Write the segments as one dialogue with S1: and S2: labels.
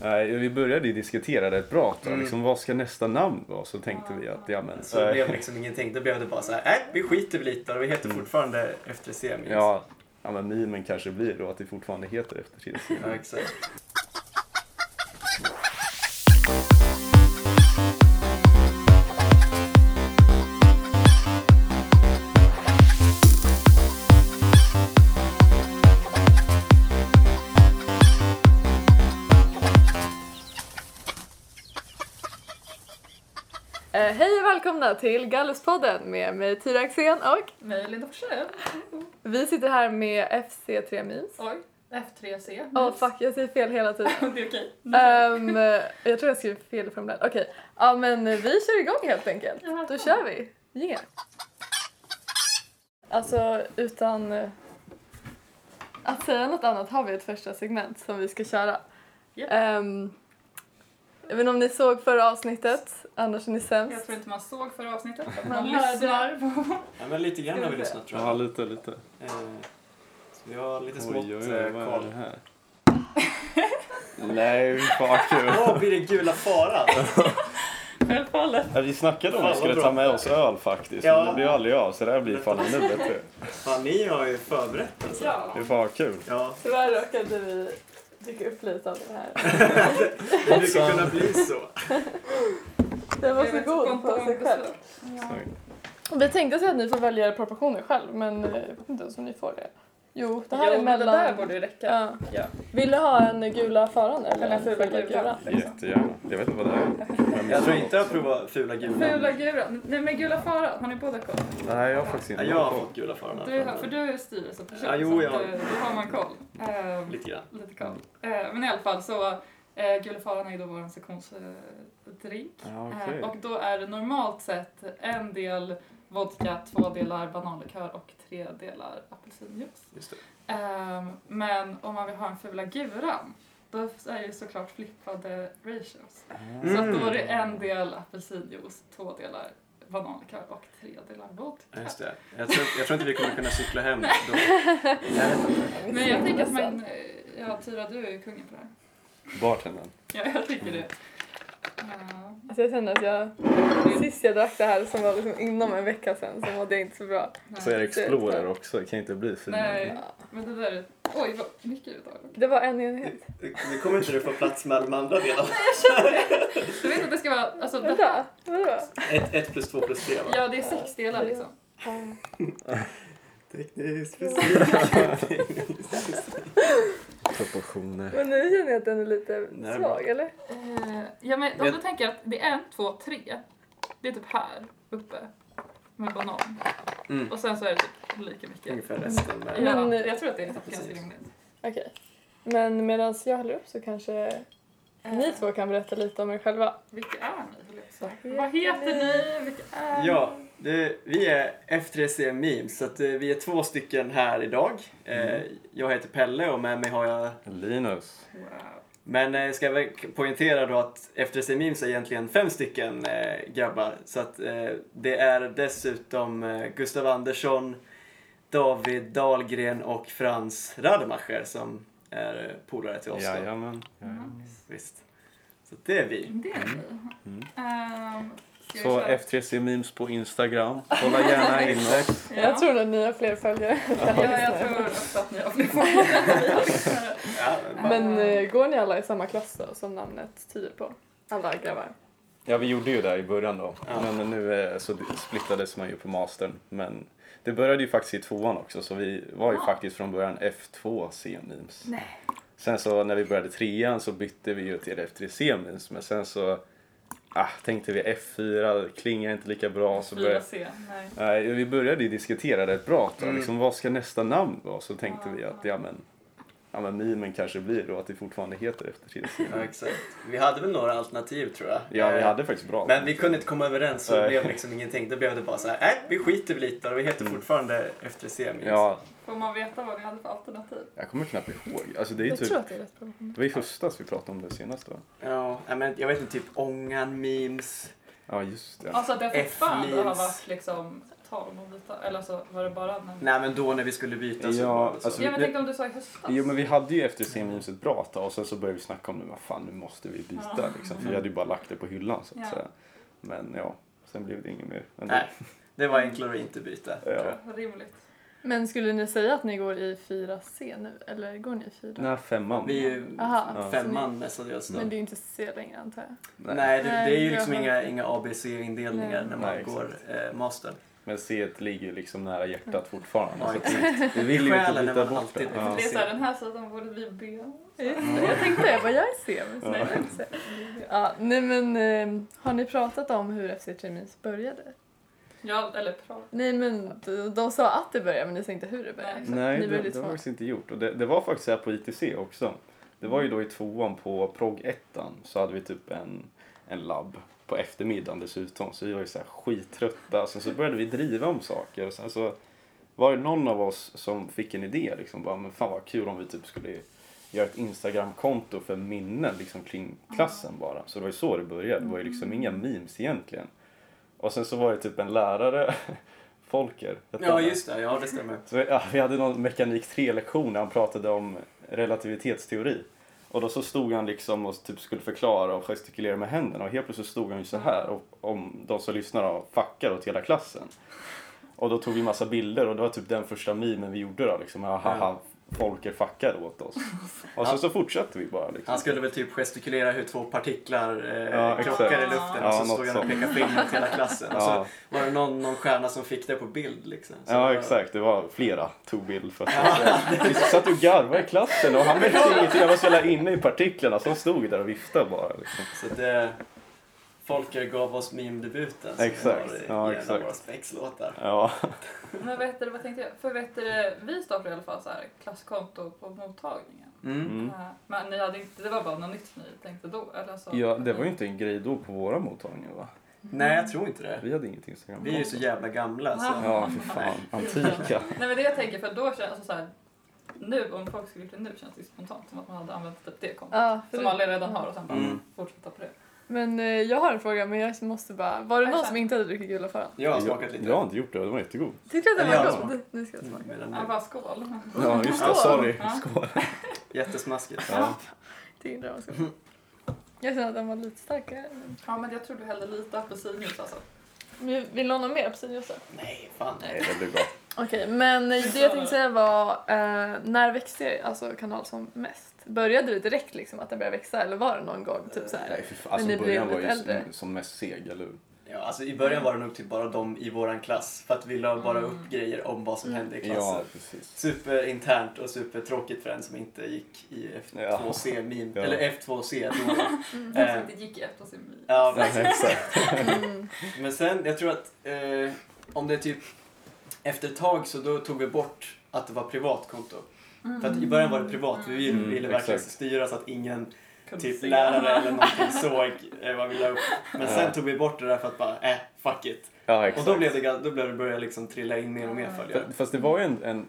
S1: Nej, vi började ju diskutera rätt bra. Då. Liksom, vad ska nästa namn vara? Så tänkte vi att, ja men.
S2: Så det blev liksom ingenting. Då blev det bara så här, nej vi skiter väl lite och vi heter fortfarande efter semin.
S1: Mm. ja, ja, men mimen kanske blir då att det fortfarande heter efter Tredje
S2: ja, exakt.
S3: Eh, hej och välkomna till Galluspodden med mig Tyra Axén och
S4: Mig Linda Forsell.
S3: vi sitter här med FC3 Memes.
S4: Oj. F3C.
S3: Åh fuck, jag säger fel hela tiden.
S4: Det är okej.
S3: Ehm, eh, jag tror jag skrev fel från Okej, ja men vi kör igång helt enkelt.
S4: Ja,
S3: Då
S4: fan.
S3: kör vi. Yeah. Alltså utan eh, att säga något annat har vi ett första segment som vi ska köra.
S4: Japp.
S3: Ehm, jag vet inte om ni såg förra avsnittet, annars är ni
S4: Jag
S3: sämst.
S4: tror inte man såg förra avsnittet. Man,
S3: Man
S4: lyssnar på...
S2: Ja, men lite grann har vi lyssnat tror
S1: Ja,
S2: jag.
S1: lite, lite.
S2: Eh, så vi har lite
S1: Oj,
S2: smått
S1: oj, oj,
S2: eh,
S1: vad är det
S2: koll.
S1: här? Nej, fan vad kul.
S2: Åh, blir det gula faran?
S4: Självfallet.
S1: Ja, Vi snackade om att vi skulle ta med oss öl faktiskt,
S2: Ja.
S1: men det blir aldrig av. Så det här blir fan nu bättre.
S2: Fan, ni har ju förberett alltså.
S4: Ja.
S1: Det är fan vad kul.
S2: Ja,
S3: Tyvärr råkade vi dyka upp lite av det här.
S2: det brukar kunna bli så.
S3: Den var
S4: Jag
S3: så
S4: vet
S3: god
S4: inte
S3: på
S4: om
S3: sig
S4: det
S3: själv.
S4: så. Ja.
S3: Vi tänkte så att ni får välja era proportioner själv, men eh, jag vet inte ens om ni får det. Jo, det här
S4: Jo,
S3: är
S4: men
S3: mellan...
S4: Det där borde ju räcka.
S3: ja.
S4: Ja.
S3: Vill du ha en gula faran eller
S4: Eller
S3: en fula gula?
S4: liksom.
S1: Jättegärna. Jag vet inte vad det är. Jag,
S2: Jag tror
S1: missade
S2: inte jag provar fula gula.
S4: Fula guran. Nej men gula faran, har ni båda koll?
S1: något. Nej, jag har faktiskt
S2: Ja,
S1: inte
S2: jag har
S1: ja.
S2: fått gula faran.
S4: Du,
S2: här.
S4: för du är styrelseperson.
S2: Ja, jo,
S4: så att,
S2: jag-
S4: eh, Då har man koll. Eh,
S2: Lite grann.
S4: lite koll. Eh, men i alla fall så, eh, gula faran är ju då vår eh, sektionsdrink.
S1: Ja,
S4: Eh,
S1: okej.
S4: Och då är det normalt sett en del vodka, två delar bananlikör och tre delar apelsinjuice.
S2: Just det.
S4: Ehm, men om man vill ha en fula guran, då är det såklart flippade ratios. Så att då är det
S1: Mm.
S4: en del apelsinjuice, två delar bananlikör och tre delar
S2: Ja,
S4: vodka.
S2: Just det. Jag tror, jag tror inte vi kommer kunna cykla hem då.
S4: Men jag tänker att man... Ja, Tyra, du är ju kungen på det här.
S1: Bartendern.
S4: Ja, jag tycker det. Ehm, Ja.
S3: Alltså jag känner att jag... Sist jag drack det här som var liksom inom en vecka sedan så mådde jag inte så bra.
S4: nej.
S1: Så är det Explorer också. Det kan inte bli finare.
S4: Nej, men det där är... Oj, vad mycket utav det.
S3: Det var en enhet.
S2: Nu kommer inte du få plats med alla de andra delarna.
S4: Du vet att det ska vara... Alltså, det här,
S3: Vänta, vadå?
S2: Ett, ett plus två plus tre va?
S4: ja, det är sex delar liksom.
S2: Tekniskt
S1: Proportioner.
S3: Men nu känner jag att den är lite
S2: Nej,
S3: svag eller?
S4: Eh, ja, men om
S2: Vet-
S4: du tänker att det är en, två, tre. Det är typ här uppe med banan.
S2: Mm.
S4: Och sen så är det typ lika mycket.
S2: Ungefär resten med.
S4: Ja,
S3: Men- eh,
S4: jag tror att det är liksom
S2: Precis.
S4: ganska rimligt.
S3: Okej. Men medan jag håller upp så kanske ni
S4: Eh,
S3: två kan berätta lite om er själva.
S4: Vilka är ni? höll jag på att säga.
S3: Vad
S4: Vad
S3: heter
S4: heter ni? Vilka är
S2: Ja, det, vi är F3C Memes så att eh, vi är två stycken här idag. Eh, jag heter Pelle och med mig har jag...
S1: Linus.
S4: ni? Wow.
S2: Men eh, ska jag väl poängtera då att F3C Memes är egentligen fem stycken eh, grabbar. Så att eh, det är dessutom eh, Gustav Andersson, David Dahlgren och Frans Rademacher som är eh, polare till oss. då.
S1: Jajamän.
S4: Mm.
S1: Jajamän.
S4: Nice.
S2: Visst. Så det är vi.
S4: Det är ni.
S1: Mm.
S4: Ehm, ska jag
S1: Så
S4: köra?
S1: F3C Memes på Instagram. Kolla gärna in oss.
S4: Ja.
S3: Jag tror att ni har fler följare.
S4: Ja, jag tror också att ni har blivit många.
S2: Ja, men-
S3: Men eh, går ni alla i samma klass då, som namnet tyder på? Alla grabbar?
S1: Ja, vi gjorde ju det i början då.
S2: Ja.
S1: Men nu eh, så splittades man ju på mastern. Men det började ju faktiskt i tvåan också, så vi var ju
S4: Ja.
S1: faktiskt från början F2C memes.
S4: Nej.
S1: Sen så när vi började trean så bytte vi ju till F3C memes, men sen så ah, tänkte vi F4 klingar inte lika bra. Så började,
S4: 4C, nej.
S1: nej, vi började ju diskutera rätt bra. Då.
S2: Mm.
S1: Liksom, vad ska nästa namn vara? Så tänkte
S4: Ja.
S1: vi att ja men, ja, men memen kanske blir då att det fortfarande heter F3C.
S2: Ja, exakt. Vi hade väl några alternativ tror jag.
S1: Ja, vi
S2: Eh,
S1: hade faktiskt bra.
S2: Men vi kunde inte komma överens så det
S1: Nej.
S2: blev liksom ingenting. Då blev det bara så här, nej, vi skiter väl lite och vi heter fortfarande efter semin.
S1: Mm. Ja,
S4: Får man veta vad ni hade för alternativ?
S1: jag kommer knappt ihåg. Alltså, det är ju
S3: Jag
S1: typ...
S3: tror att det är rätt bra.
S1: Det var i höstas vi pratade om det senast va?
S2: Ja, nej, men jag vet inte, typ ångan memes.
S1: Ja just det.
S4: Alltså att jag fortfarande har
S2: F-memes.
S4: varit liksom tal om att byta? Eller alltså var det bara när...
S2: Nej men då när vi skulle byta så
S1: Ja,
S2: var det så.
S1: alltså-
S4: ja, men jag tänkte om du sa i höstas.
S1: Jo men vi hade ju efter semljus ett bra tag och sen så började vi snacka om det, vad fan nu måste vi byta
S4: Ja.
S1: liksom. För vi hade ju bara lagt det på hyllan så att
S4: Ja.
S1: säga. Men ja, sen blev det inget mer. ändå.
S2: Nej, det var enklare att inte byta. tror jag.
S1: Ja.
S4: Rimligt.
S3: Men skulle ni säga att ni går i 4C nu? Eller går ni i 4?
S1: Den här femman.
S2: Vi är ju
S3: Aha,
S1: Ja.
S2: femman nästan just
S3: Men
S2: nu.
S3: det är ju inte C längre antar jag.
S1: Nej.
S2: Nej, det, det är ju
S3: Nej,
S2: liksom
S3: jag-
S2: inga, inga ABC-indelningar
S3: Nej.
S2: när man
S1: Nej,
S2: går eh, mastern.
S1: Men C ligger ju liksom nära hjärtat fortfarande.
S2: Ja,
S1: så att vi, vi vill ju
S2: Själen
S1: inte
S2: är
S1: byta
S2: man
S1: bort
S2: alltid.
S1: det.
S4: För
S1: Ja.
S4: det är såhär, den här sidan borde bli B.
S3: Jag tänkte det, jag bara jag är C. Men så
S1: Ja.
S3: är det inte C. Ja, nej men eh, har ni pratat om hur FC Tremins började?
S4: Ja, eller pra.
S3: Nej men de, de sa att det började men ni sa inte hur det började.
S4: Nej.
S3: Så
S1: Nej,
S3: ni
S1: det, det
S3: började
S1: har jag
S3: svara.
S1: faktiskt inte gjort. Och det, det var faktiskt här på ITC också. Det var ju då i tvåan på prog ettan så hade vi typ en, en labb på eftermiddagen dessutom. Så vi var ju så här skittrötta. Sen så började vi driva om saker. Och sen så var det någon av oss som fick en idé liksom. Bara, men fan vad kul om vi typ skulle göra ett Instagramkonto för minnen liksom kring klassen bara. Så det var ju så det började. Det var ju liksom inga memes egentligen. Och sen så var det typ en lärare, Folker. hette
S2: Ja,
S1: han.
S2: just det. Ja, det stämmer.
S1: Så, ja, vi hade någon mekanik 3-lektion där han pratade om relativitetsteori. Och då så stod han liksom och typ skulle förklara och gestikulera med händerna och helt plötsligt så stod han ju så här och om de som lyssnar och fuckar åt hela klassen. Och då tog vi massa bilder och det var typ den första memen vi gjorde då liksom. Haha, Folker fuckar åt oss. Och sen så fortsatte vi bara liksom.
S2: Han skulle väl typ gestikulera hur två partiklar eh,
S1: Ja, exakt.
S2: krockar i luften och
S1: Ja,
S2: så
S1: något
S2: stod han och
S1: sånt.
S2: pekade finger åt hela klassen. Alltså, Och
S1: Ja.
S2: så var det någon, någon stjärna som fick det på bild liksom. Så
S1: Ja
S2: det var-
S1: exakt, det var flera tog bild först. Vi satt och garvade i klassen och han märkte ingenting. Jag var så jävla inne i partiklarna så han stod där och viftade bara. Liksom.
S2: Så det... Folker gav oss meme-debuten. som
S1: Exakt.
S2: var i
S1: Ja,
S2: en av
S1: exakt.
S2: våra spexlåtar.
S1: Ja.
S4: Men vad heter det, vad tänkte jag? För vet du, vi startade i alla fall så här klasskonto på mottagningen.
S2: Mm.
S1: Mm.
S4: Eh, Men ni hade inte, det var bara något nytt ni tänkte då? Eller alltså- så,
S1: Ja, det var ju inte en grej då på våra mottagningar va?
S2: Nej, jag tror inte det.
S1: Vi hade inget Instagram.
S2: Vi är ju så jävla gamla så...
S1: Ja, för fan. Antika.
S4: Nej men det jag tänker för då känns alltså så här, nu om folk skulle gjort det nu känns det spontant som att man hade använt typ det kontot.
S3: Ja, för
S4: Som
S3: det-
S4: alla redan har och sen bara
S2: Mm.
S4: fortsätta på det.
S3: Men eh, jag har en fråga men jag måste bara, var det någon som inte hade druckit gula förrän?
S2: Jag har smakat
S1: Jag har
S2: lite.
S1: inte gjort det, det var jättegod.
S3: Tyckte du att
S2: Eller
S3: den
S2: jag
S3: var
S2: har
S3: god? Nu ska jag smaka.
S2: Medan
S4: Ja,
S2: nu-
S4: bara skål.
S1: Ja, just det. Sorry. Skål.
S2: Jättesmaskigt.
S1: Ja.
S3: Tyckte den var så god. Jag känner att den var lite starkare. men-
S4: Ja men jag tror du hällde lite apelsinjuice alltså.
S3: Men Vill någon ha mer apelsinjuice då?
S2: Nej, fan.
S1: Nej, det blev bra.
S3: Okej, men eh, det jag tänkte säga var, eh, när växte alltså kanal som mest? Började det direkt liksom att den började växa eller var det någon gång typ så här?
S1: Nej, för fan. Alltså
S3: Men ni
S1: början
S3: blev
S1: var ju
S3: lite äldre.
S1: som- som mest seg, eller hur?
S2: Ja, alltså I början var det nog typ bara de i våran klass för att vi la bara upp grejer om vad som hände i klassen.
S1: Ja, precis.
S2: Superinternt och supertråkigt för en som inte gick i F2C meme,
S1: Ja.
S2: eller F2C då.
S4: Fast
S2: Eh,
S4: inte gick efter sin mil.
S2: ja,
S1: Ja, exakt.
S3: Mm.
S2: Men sen, jag tror att eh, om det är typ efter ett tag så då tog vi bort att det var privat konto. För att i början var det privat, vi ville,
S1: Mm,
S2: ville verkligen
S1: exakt.
S2: styra så att ingen
S4: Kunde
S2: typ
S4: se.
S2: lärare eller någonting såg eh, vad vi la upp. Men
S1: Ja.
S2: sen tog vi bort det där för att bara, eh, fuck it.
S1: Ja,
S2: Och
S1: exakt.
S2: då blev det, ga- då blev det börja liksom trilla in mer och mer följare.
S1: F- Fast det var ju en, en,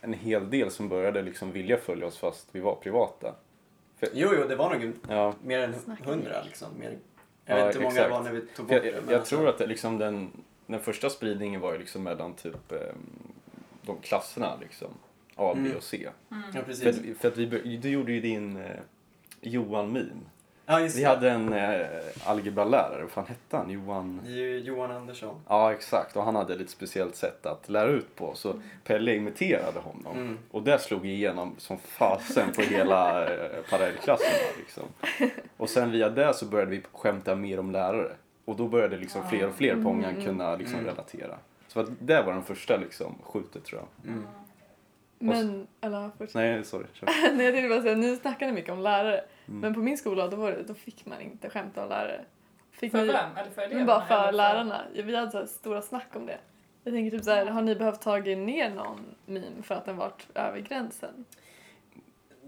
S1: en hel del som började liksom vilja följa oss fast vi var privata.
S2: Jo, jo, det var nog en-
S1: Ja.
S2: mer än
S3: Snackar vi.
S2: hundra liksom. Mer,
S1: Ja,
S2: jag vet inte hur många det
S1: exakt.
S2: var när vi tog bort
S1: Jag,
S2: det.
S1: jag,
S2: men
S1: jag
S2: alltså-
S1: tror att det liksom den, den första spridningen var ju liksom mellan typ eh, de klasserna liksom. A, B
S2: Mm.
S1: och C.
S2: Ja,
S1: För,
S2: precis.
S1: att- för att vi, bör- du gjorde ju din eh, Johan meme.
S2: Ja, just
S1: Vi
S2: det.
S1: hade en eh, algebralärare, vad fan hette han? Johan?
S2: Det är ju Johan Andersson.
S1: Ja exakt, och han hade ett lite speciellt sätt att lära ut på så Pelle imiterade honom.
S2: Mm.
S1: Och det slog igenom som fasen på hela eh, parallellklasserna liksom. Och sen via det så började vi skämta mer om lärare. Och då började liksom fler och fler på ångan kunna liksom
S2: Mm.
S1: relatera. Så att det var den första liksom skjutet tror jag.
S2: Mm.
S3: Men, eller fortsätt.
S1: Nej, sorry. kör. Mm.
S3: Nej jag tänkte bara säga, ni snackade mycket om lärare. Men på min skola då, var det, då fick man inte skämta om lärare. Fick
S4: För
S3: ni,
S4: vem? Eller för eleverna?
S3: men bara
S4: eller
S3: för lärarna. Ja, Vi hade så här stora snack om det. Jag tänker typ så här, har ni behövt tagit ner någon meme för att den varit över gränsen?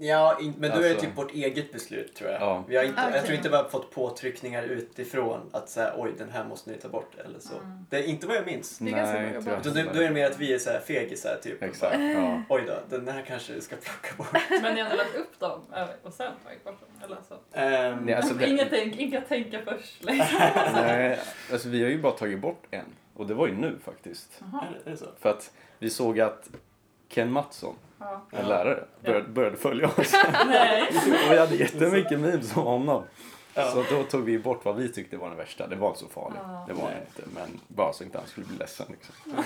S2: Ja, in, men då är det
S1: Alltså-
S2: typ vårt eget beslut tror jag.
S1: Ja.
S2: Vi har inte, Jag
S3: Okej.
S2: tror inte vi har fått påtryckningar utifrån att säga oj den här måste ni ta bort eller så.
S4: Mm.
S2: Det är inte vad jag minns.
S3: Det är ganska
S1: Nej,
S3: många
S1: tror jag
S2: Utan
S1: inte.
S2: det, då är det mer att vi är så här fegisar typ. och
S1: Exakt,
S2: Bara,
S1: ja.
S2: oj då, den här kanske vi ska plocka bort.
S4: Men ni har lagt upp dem eh, och sen tagit bort dem? Eller så.
S2: Ehm,
S1: Nej, alltså det,
S4: Inga, tänk, inga tänka först. Liksom.
S1: nej, alltså vi har ju bara tagit bort en. Och det var ju nu faktiskt.
S4: Jaha.
S2: Är det så?
S1: För att vi såg att Ken Mattsson,
S4: Ja.
S1: en
S2: Ja.
S1: lärare, började, började följa oss.
S4: Nej.
S1: Och vi hade jättemycket memes om honom.
S2: Ja.
S1: Så då tog vi bort vad vi tyckte var den värsta. Det var inte så farligt.
S4: Ja.
S1: Det var
S2: Nej.
S1: det inte. Men bara så inte han skulle bli ledsen. Liksom.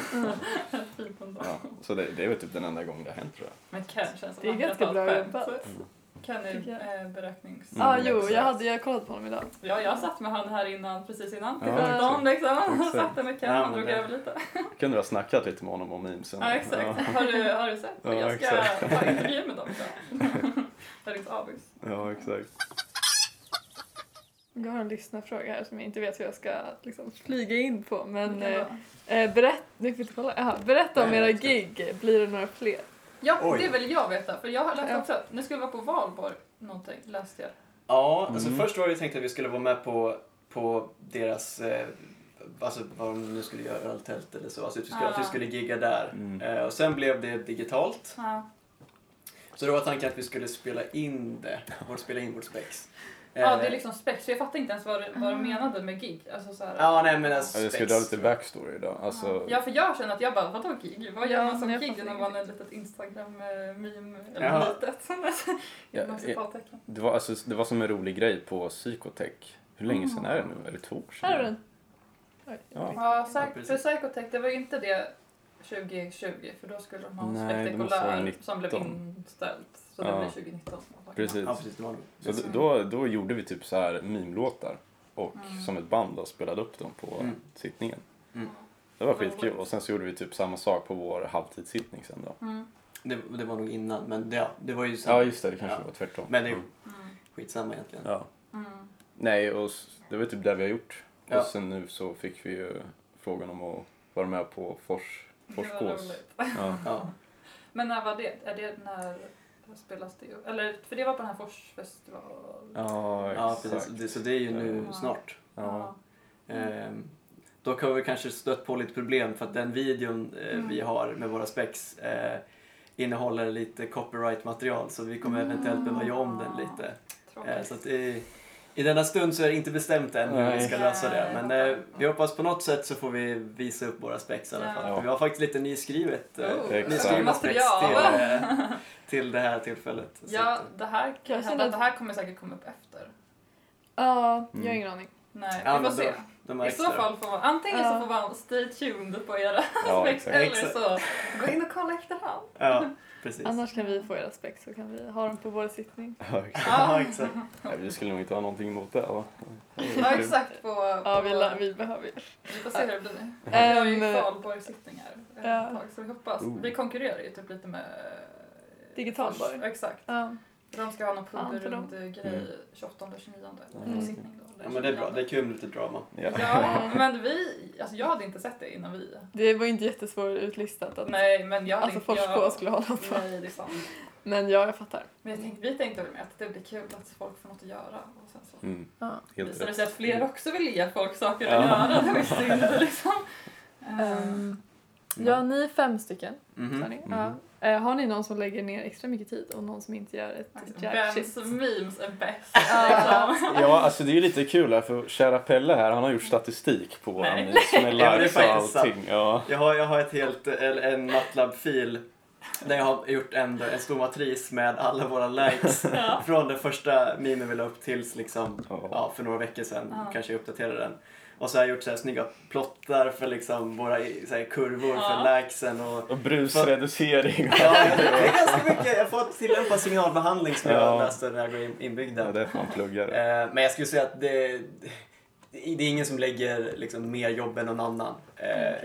S4: Fint ändå.
S1: Ja. Så det, det är väl typ den enda gången det har hänt tror jag.
S4: Men Ken känns som
S3: Det är
S4: att
S3: ganska
S4: han
S3: bra
S4: har ett
S3: jobbat.
S4: skämt. Mm. Ken är
S3: Tycker
S4: eh, beräknings...
S3: Ja, ah,
S1: Mm,
S3: jo,
S1: exakt.
S3: jag, hade, jag kollade på honom idag.
S4: Ja, jag satt med han här innan, precis innan. Till
S1: Ja,
S4: 15 liksom. Jag
S1: Exakt.
S4: satt där med Ken,
S2: Ja,
S4: han
S2: men
S4: drog
S2: det-
S4: över lite.
S1: Kunde ha snackat lite med honom om memesen.
S2: Liksom.
S4: Ja, exakt.
S1: Ja,
S4: Har, du, har du sett?
S1: Ja,
S4: jag ska
S1: exakt.
S4: ta intervju med dem liksom idag. Jag är inte avis.
S1: ja exakt.
S3: Jag har en lyssnarfråga här som jag inte vet hur jag ska liksom, flyga in på. Men
S4: Det kan
S3: eh,
S4: vara.
S3: eh, berätt, nu får inte kolla. Jaha, berätta om
S2: Nej,
S3: era
S2: jag ska-
S3: gig. Blir det några fler?
S4: Ja,
S2: Oj.
S4: det vill jag veta. För jag har läst
S3: Ja.
S4: också att ni skulle vara på valborg någonting, läste jag.
S2: Ja, alltså
S1: Mm.
S2: först var det tänkt att vi skulle vara med på, på deras, eh, alltså vad de nu skulle göra, öltält eller så. Alltså att vi skulle, att vi
S4: Ah.
S2: skulle gigga där.
S1: Mm.
S2: Eh, och sen blev det digitalt.
S4: Ja.
S2: Så då var tanken att vi skulle spela in det, vårt, spela in vårt spex.
S4: ja, det är
S2: Eh,
S4: liksom spex. För jag fattar inte ens vad, du-
S3: Mm.
S4: vad de menade med gig. Alltså, så här.
S2: Ja, nej men alltså
S1: Ja, jag ska
S2: spex.
S1: dra lite backstory idag. Alltså,
S4: Ja, för jag känner att jag bara, vadå gig? Vad gör
S3: Ja,
S4: man som
S3: jag
S4: gig
S3: fattar
S4: när man är ett litet Instagram-meme? Eller
S2: Jaha.
S4: litet.
S1: Ja,
S4: Inom
S1: ja.
S4: citattecken.
S1: det, var, alltså, det var som en rolig grej på Psykotech. Hur
S4: Mm.
S1: länge sedan är det nu? Är det två år sedan?
S3: Här har du den. Oj.
S1: Ja.
S4: Ja, säk-
S2: precis.
S4: för Psychotech, det var ju inte det 2020 för då skulle de ha en
S1: Nej, det måste vara
S4: spektakulär som blev
S1: 19.
S4: inställd. Så
S1: Ja.
S4: det blir 2019 som var
S1: Precis.
S2: Ja, precis. Det var det.
S1: Så d- då, då gjorde vi typ så här mimlåtar och
S4: Mm.
S1: som ett band då spelade upp dem på
S2: Mm.
S1: sittningen.
S2: Mm.
S1: Det var skitkul och sen så gjorde vi typ samma sak på vår halvtidssittning sen då.
S4: Mm.
S2: Det, det var nog innan, men det, ja, det var ju så.
S1: Ja just det, det kanske
S2: Ja.
S1: var tvärtom.
S2: Men det är
S1: Mm.
S4: Mm.
S2: skitsamma egentligen.
S1: ja.
S4: Mm.
S1: Nej, och s- det var typ det vi har gjort.
S2: Ja.
S1: Och sen nu så fick vi ju frågan om att vara med på Fors,
S4: Det var
S1: Forskås.
S4: roligt.
S1: Ja.
S2: Ja.
S4: Men när var det? Är det när spelas det? ju- Eller, för det var på den här Forsfestivalen.
S1: Ja,
S2: Ja,
S1: exakt.
S2: precis. Det, så det är ju nu
S4: Ja.
S2: snart.
S1: Ja.
S2: Ehm, Dock har vi kanske stött på lite problem för att den videon eh,
S4: Mm.
S2: vi har med våra spex eh, innehåller lite copyright-material så vi kommer eventuellt behöva göra om den lite.
S4: Tråkigt.
S2: Eh, så att i, I denna stund så är det inte bestämt än hur vi
S1: Nej.
S2: ska lösa det
S4: Nej,
S2: men
S4: jag
S2: eh, vi hoppas på något sätt så får vi visa upp våra spex i alla fall.
S1: Ja.
S2: För vi har faktiskt lite nyskrivet eh,
S4: Oh,
S1: exakt.
S2: nyskrivet spex
S4: material.
S2: till, eh, till det här tillfället. Så
S4: Ja,
S2: att, eh,
S4: det här
S3: Jag
S4: kan hända
S3: känner
S4: att det här kommer säkert komma upp efter.
S3: Ja, jag har
S1: Mm.
S3: ingen aning.
S4: Nej,
S2: Ja,
S4: vi får
S2: men då-
S4: se.
S2: de här
S4: I så
S2: extra-
S4: fall får man, antingen så
S3: Ja.
S4: får man stay tuned på era
S1: Ja,
S4: aspekt
S1: exakt.
S4: eller
S2: Exakt.
S4: så gå in och kolla efterhand.
S2: Ja, precis.
S3: Annars kan vi få era spex så kan vi ha dem på vår sittning.
S1: Ja, exakt.
S2: Ja, exakt.
S1: Nej, vi skulle nog inte ha någonting emot det va?
S4: Ja, exakt. På, på,
S3: Ja, vi, la- vi behöver ju.
S4: Vi får se hur det blir. Vi
S3: Ehm,
S4: har ju kvalborgssittningar ett
S3: ja.
S4: tag så vi hoppas.
S1: Oh.
S4: Vi konkurrerar ju typ lite med... eh,
S3: Digital
S4: Fors-
S3: borg.
S4: Exakt.
S3: Ja.
S4: De ska ha någon eh,
S3: Ja, för dem.
S4: pudelrund-grej 28 och 29
S1: Mm.
S4: sittning då. eller
S2: Mm. Ja, men det är bra.
S4: 29.
S2: Det är kul med lite drama.
S1: Ja.
S4: Ja, men vi... Alltså jag hade inte sett det innan vi...
S3: Det var inte jättesvårt utlistat att
S4: Nej, men jag hade
S3: alltså,
S4: inte...
S3: Forsk
S4: jag-
S3: skulle hålla på.
S4: Nej, det är sant.
S3: Men ja, jag fattar.
S4: Men jag tänkte, vi tänkte väl med att det blir kul att folk får något att göra. Och sen så
S1: Mm.
S3: Ja.
S1: Helt
S4: visade det
S1: rätt.
S4: sig att fler också vill ge folk saker att
S1: Ja.
S4: göra. Det var ju synd liksom. Ehm,
S3: Ehm, ja, ni är fem stycken. sa
S4: Mm-hmm.
S2: Mhm.
S3: ni. Ja. Eh, har ni någon som lägger ner extra mycket tid och någon som inte gör
S4: Alltså,
S3: ett jack
S4: Vems
S3: shit?
S4: memes är bäst?
S3: Ja.
S4: liksom?
S1: Ja, alltså det är ju lite kul här för kära Pelle här, han har gjort statistik på våra
S4: Nej.
S1: memes med
S2: Ja, men det är
S1: likes och
S2: faktiskt sant.
S1: allting. Ja.
S2: Jag har, jag har ett helt, eller en Matlab-fil där jag har gjort en, en stor matris med alla våra likes
S4: Ja.
S2: från den första memen vi la upp tills liksom,
S1: Ja.
S2: ja, för några veckor sedan,
S4: Ja.
S2: kanske jag uppdaterade den. Och så har jag gjort så här snygga plottar för liksom våra i- så här kurvor
S4: Ja.
S2: för likesen och
S1: Och brusreducering.
S2: Ja, det är ganska mycket. Jag får tillämpa signalbehandling som jag
S1: Ja.
S2: läste när jag går in, inbyggd där.
S1: Ja, det är fan pluggare.
S2: Eh, men jag skulle säga att det, det är ingen som lägger liksom, mer jobb än någon annan. Eh,
S1: Nej.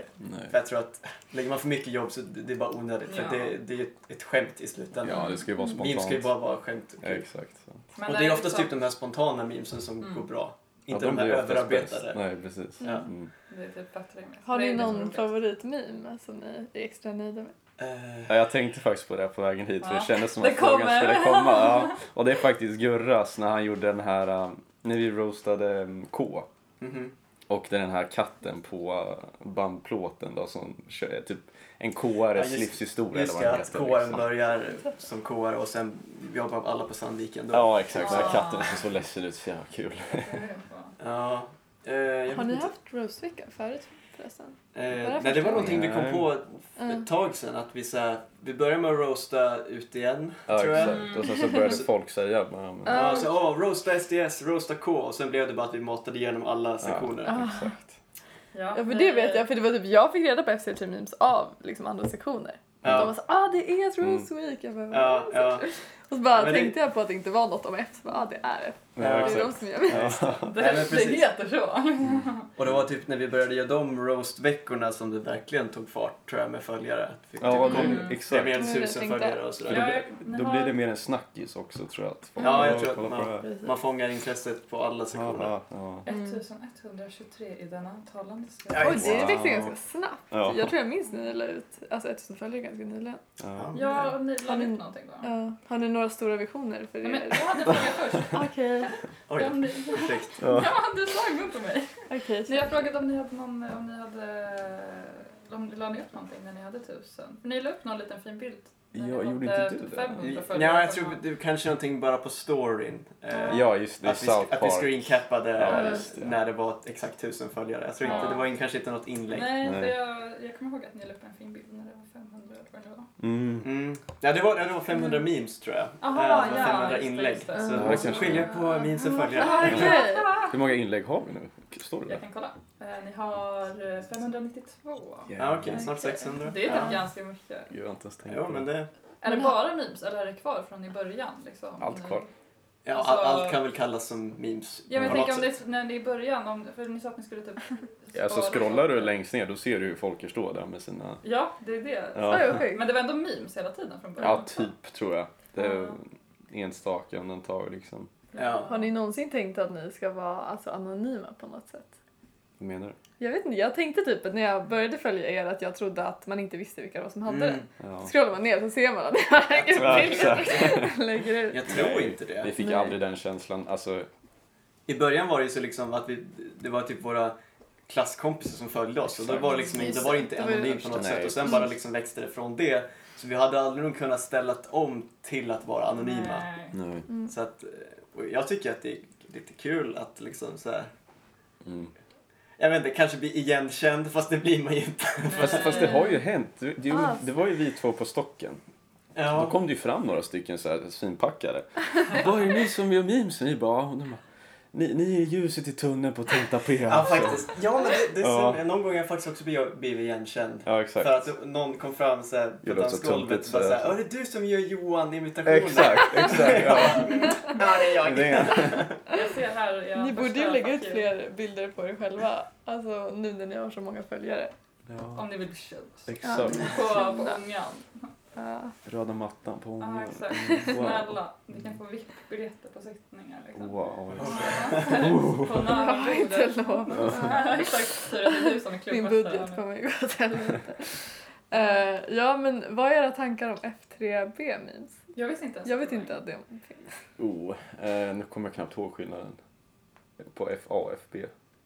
S2: för jag tror att lägger man för mycket jobb så det det är bara onödigt. För
S4: Ja.
S2: det, det är ju ett, ett skämt i slutändan.
S1: Ja, det ska ju vara
S2: Memes ska ju
S1: spontant.
S2: bara vara skämt. typ.
S1: Ja, exakt. Så.
S4: Men
S2: Och det är oftast
S4: liksom-
S2: typ de här spontana memesen som
S4: Mm.
S2: går bra. Inte
S1: ja,
S2: de, här
S1: blir oftast
S2: överarbetade.
S1: bäst. Nej, precis.
S2: Ja.
S1: Mm.
S4: Det är typ bättre med.
S3: Har
S4: Det är
S3: ni
S4: det som är
S3: någon
S4: roligast.
S3: favoritmeme som ni är extra nöjda med?
S2: Eh,
S1: Ja, jag tänkte faktiskt på det här på vägen hit för
S4: Ja.
S1: det kändes som
S4: Det
S1: att frågan
S4: kommer.
S1: skulle komma. Ja. Och det är faktiskt Gurras när han gjorde den här, um, när vi roastade um, K.
S2: mhm.
S1: Och det är den här katten på uh, bandplåten då som kör, typ en KRs
S2: Ja, just-
S1: livshistoria
S2: Just
S1: eller
S2: det,
S1: vad den
S2: att
S1: heter.
S2: KR
S1: Liksom.
S2: börjar som KR och sen jobbar alla på Sandviken. Då.
S1: Ja exakt, den här
S4: Ja.
S1: katten som så ledsen ut, så jävla kul.
S4: Det är det.
S2: Ja, eh, jag
S3: Har
S2: vet
S3: ni
S2: inte.
S3: haft roastvecka förut? förresten?
S2: Eh, nej, det var någonting vi kom
S1: Nej.
S2: på
S3: Mm.
S2: ett tag sedan. Att vi, så här, vi började med att roasta ut igen,
S1: Ja,
S2: tror jag. Mm.
S1: exakt. Och sen så började folk säga bara, men,
S3: Ja.
S2: Ja, så, åh, roasta SDS, roasta K. Och sen blev det bara att vi matade igenom alla sektioner.
S3: Ah.
S1: exakt.
S4: Ja,
S3: Ja, för
S4: vi-
S3: det vet jag. För det var typ jag fick reda på FCT Memes av liksom andra sektioner.
S2: Ja. Mm.
S3: De var så ah det är ett Rose Week. Jag bara,
S2: Ja,
S3: "Vad?"
S2: ja.
S3: Och så bara
S2: Men det-
S3: tänkte jag på att det inte var något om F. Så bara, ah det är F.
S2: Ja,
S3: Det
S1: Ja,
S3: är de
S1: exakt.
S3: som gör mig.
S1: Ja.
S4: Det,
S2: Nej, men
S4: det
S2: precis.
S4: heter så.
S1: Mm.
S4: Mm.
S2: Och det var typ när vi började göra de roast-veckorna som det verkligen tog fart, tror jag, med följare. Att vi
S1: Ja,
S2: typ
S1: det,
S2: kom-
S4: Mm.
S1: mm.
S2: Det är
S1: exakt.
S2: mer än
S3: Mm, jag
S2: tusen
S3: tänkte-
S2: följare och
S1: För då,
S2: sådär.
S1: blir-
S4: ni
S1: då
S4: har-
S1: blir det mer en snackis också tror jag. Att folk
S2: Ja, jag
S1: "Åh,
S2: tror att
S1: kolla på
S2: man-
S1: det här."
S2: Man fångar intresset på alla sektioner.
S1: Aha, ja.
S3: Mm.
S4: 1123 i den antalande
S2: Ja,
S3: Oj,
S4: stund.
S1: just-
S3: det
S1: Wow.
S3: växte ganska snabbt.
S1: Ja.
S3: Jag tror jag minns när ni la ut alltså 1000 följare ganska nyligen.
S1: Ja.
S4: Ja, och ni la
S3: Har ni-
S4: ut någonting då?
S3: Ja. Har ni några stora visioner för
S4: Nej, men
S3: er?
S4: jag hade en fråga först.
S3: Okej,
S2: Oj,
S4: Om ni-
S2: ursäkta.
S4: Ja, du sa emot mig.
S3: okej.
S4: Nej, jag frågade om ni hade någon, om ni hade, om, la ni upp någonting när ni hade tusen? För ni la upp någon liten fin bild. när
S1: Ja,
S4: ni
S1: gjorde
S4: hade
S1: inte du det?
S4: 500 följare.
S2: Ja, jag tror det kanske någonting bara på storyn. Eh,
S1: Ja, just det.
S2: att, vi,
S1: South
S2: att vi
S1: Park.
S2: screencappade
S1: Ja,
S2: eh,
S1: just det.
S2: när det var exakt tusen följare. Jag tror
S4: Ja.
S2: inte, det var in, kanske inte något inlägg.
S4: Nej, för
S1: Nej.
S4: jag, jag kommer ihåg att ni la upp en fin bild när det var 500 eller vad det var.
S1: Mm.
S2: Mm. Ja, det var, ja, det var 500 memes tror jag.
S4: Mm. Aha,
S2: Eh, det var
S4: ja,
S2: 500
S4: just det,
S2: inlägg.
S4: just det.
S2: Så
S1: Ja,
S2: det liksom
S1: kanske.
S2: skiljer på memes och följare.
S3: Ah, okej.
S1: Hur många inlägg har vi nu? Står det
S4: Jag
S1: där?
S4: kan kolla. Eh, Ni har eh, 592.
S2: Ja, okej.
S4: Okej.
S2: Snart 600.
S4: Det är typ
S2: Ja.
S4: ganska mycket.
S1: Gud, jag har inte ens tänkt
S2: Jo,
S1: på
S2: men det,
S4: Är det
S3: Men-
S4: bara memes eller är det kvar från i början? Liksom?
S1: Allt kvar.
S2: ja,
S4: Alltså-
S2: all, allt kan väl kallas som memes.
S4: Ja, men
S2: på
S4: jag tänker
S2: något
S4: om det
S2: sätt.
S4: när ni i början, om, för ni sa att ni skulle typ...
S1: Alltså
S4: spara
S1: scrollar du
S4: saker.
S1: längst ner då ser du hur folk står där med sina...
S4: Ja, det är det.
S1: Ja.
S3: Oj, vad sjukt.
S4: Men det var ändå memes hela tiden från början.
S1: Ja, typ tror jag. Det är
S4: Ja.
S1: enstaka undantag liksom.
S2: Ja.
S3: Har ni någonsin tänkt att ni ska vara alltså, anonyma på något sätt?
S1: Vad menar du?
S3: Jag vet inte, jag tänkte typ att när jag började följa er att jag trodde att man inte visste vilka det var som hade
S2: Mm.
S3: den.
S1: Ja.
S3: Scrollar man ner så ser man att jag
S1: Ja,
S3: lägger ut
S1: exakt.
S3: bilder. lägger ut.
S2: Jag tror
S1: Nej.
S2: inte det.
S1: Vi fick
S3: Nej.
S1: aldrig den känslan. Alltså,
S2: I början var det ju så liksom att vi, det var typ våra klasskompisar som följde oss och då
S1: Exakt.
S2: var det, liksom,
S3: Just
S2: då var det
S3: det.
S2: inte
S3: Det var ju det
S2: anonymt på något
S1: första.
S2: sätt och sen
S1: Nej.
S2: bara liksom växte det från det. Så vi hade aldrig nog kunnat ställa om till att vara anonyma.
S4: Nej.
S1: nej.
S3: Mm.
S2: Så att, eh, och jag tycker att det är lite kul att liksom så här,
S1: Mm.
S2: jag vet inte, kanske bli igenkänd fast det blir man ju inte.
S1: Fast, fast det har ju hänt. Du- Det,
S3: Ah.
S1: det var ju vi två på stocken. Då
S2: Ja.
S1: kom det ju fram några stycken så här finpackade. Vad är det ni som gör memes? Vi bara, "Ja." Och de bara, ni, ni är ljuset i tunneln på Alltså." Tintapé.
S2: Ja, faktiskt. Ja, men det, det
S1: Ja.
S2: stämmer. Någon gång har jag faktiskt också blivit blivit igenkänd.
S1: Ja, exakt.
S2: För att någon kom fram så här, på
S1: Det låter så
S2: dansgolvet och
S1: töntigt,
S2: bara
S1: så
S2: så
S1: jag-
S2: här, "Ja, det är du som gör Johan-imitationen.
S1: Exakt, exakt. Ja.
S2: Ja, det är jag.
S1: Det är-
S4: Jag ser här i
S3: Ni
S4: den
S3: borde ju
S4: första
S3: lägga ut
S4: fuck you,
S3: fler bilder på er själva. Alltså nu när ni har så många följare.
S1: Ja,
S4: Om ni vill bli kända.
S1: exakt.
S4: På, på ångan.
S3: Ja.
S1: Röda mattan på
S4: Ja,
S1: honom.
S4: exakt.
S1: Wow.
S4: Snälla, ni kan få VIP-biljetter på sittningar. Liksom.
S1: wow.
S3: Jag
S4: På
S3: har inte
S4: närmare
S3: lov.
S4: Exakt, tur att det är du som är
S3: Min
S4: klubbmästare.
S3: budget kommer ju gå åt helvete. Eh, ja men vad är era tankar om F3B memes?
S4: Jag vet inte ens.
S3: Jag vet inte att det finns.
S1: Oh, eh, nu kommer jag knappt ihåg skillnaden. På F, A och FB.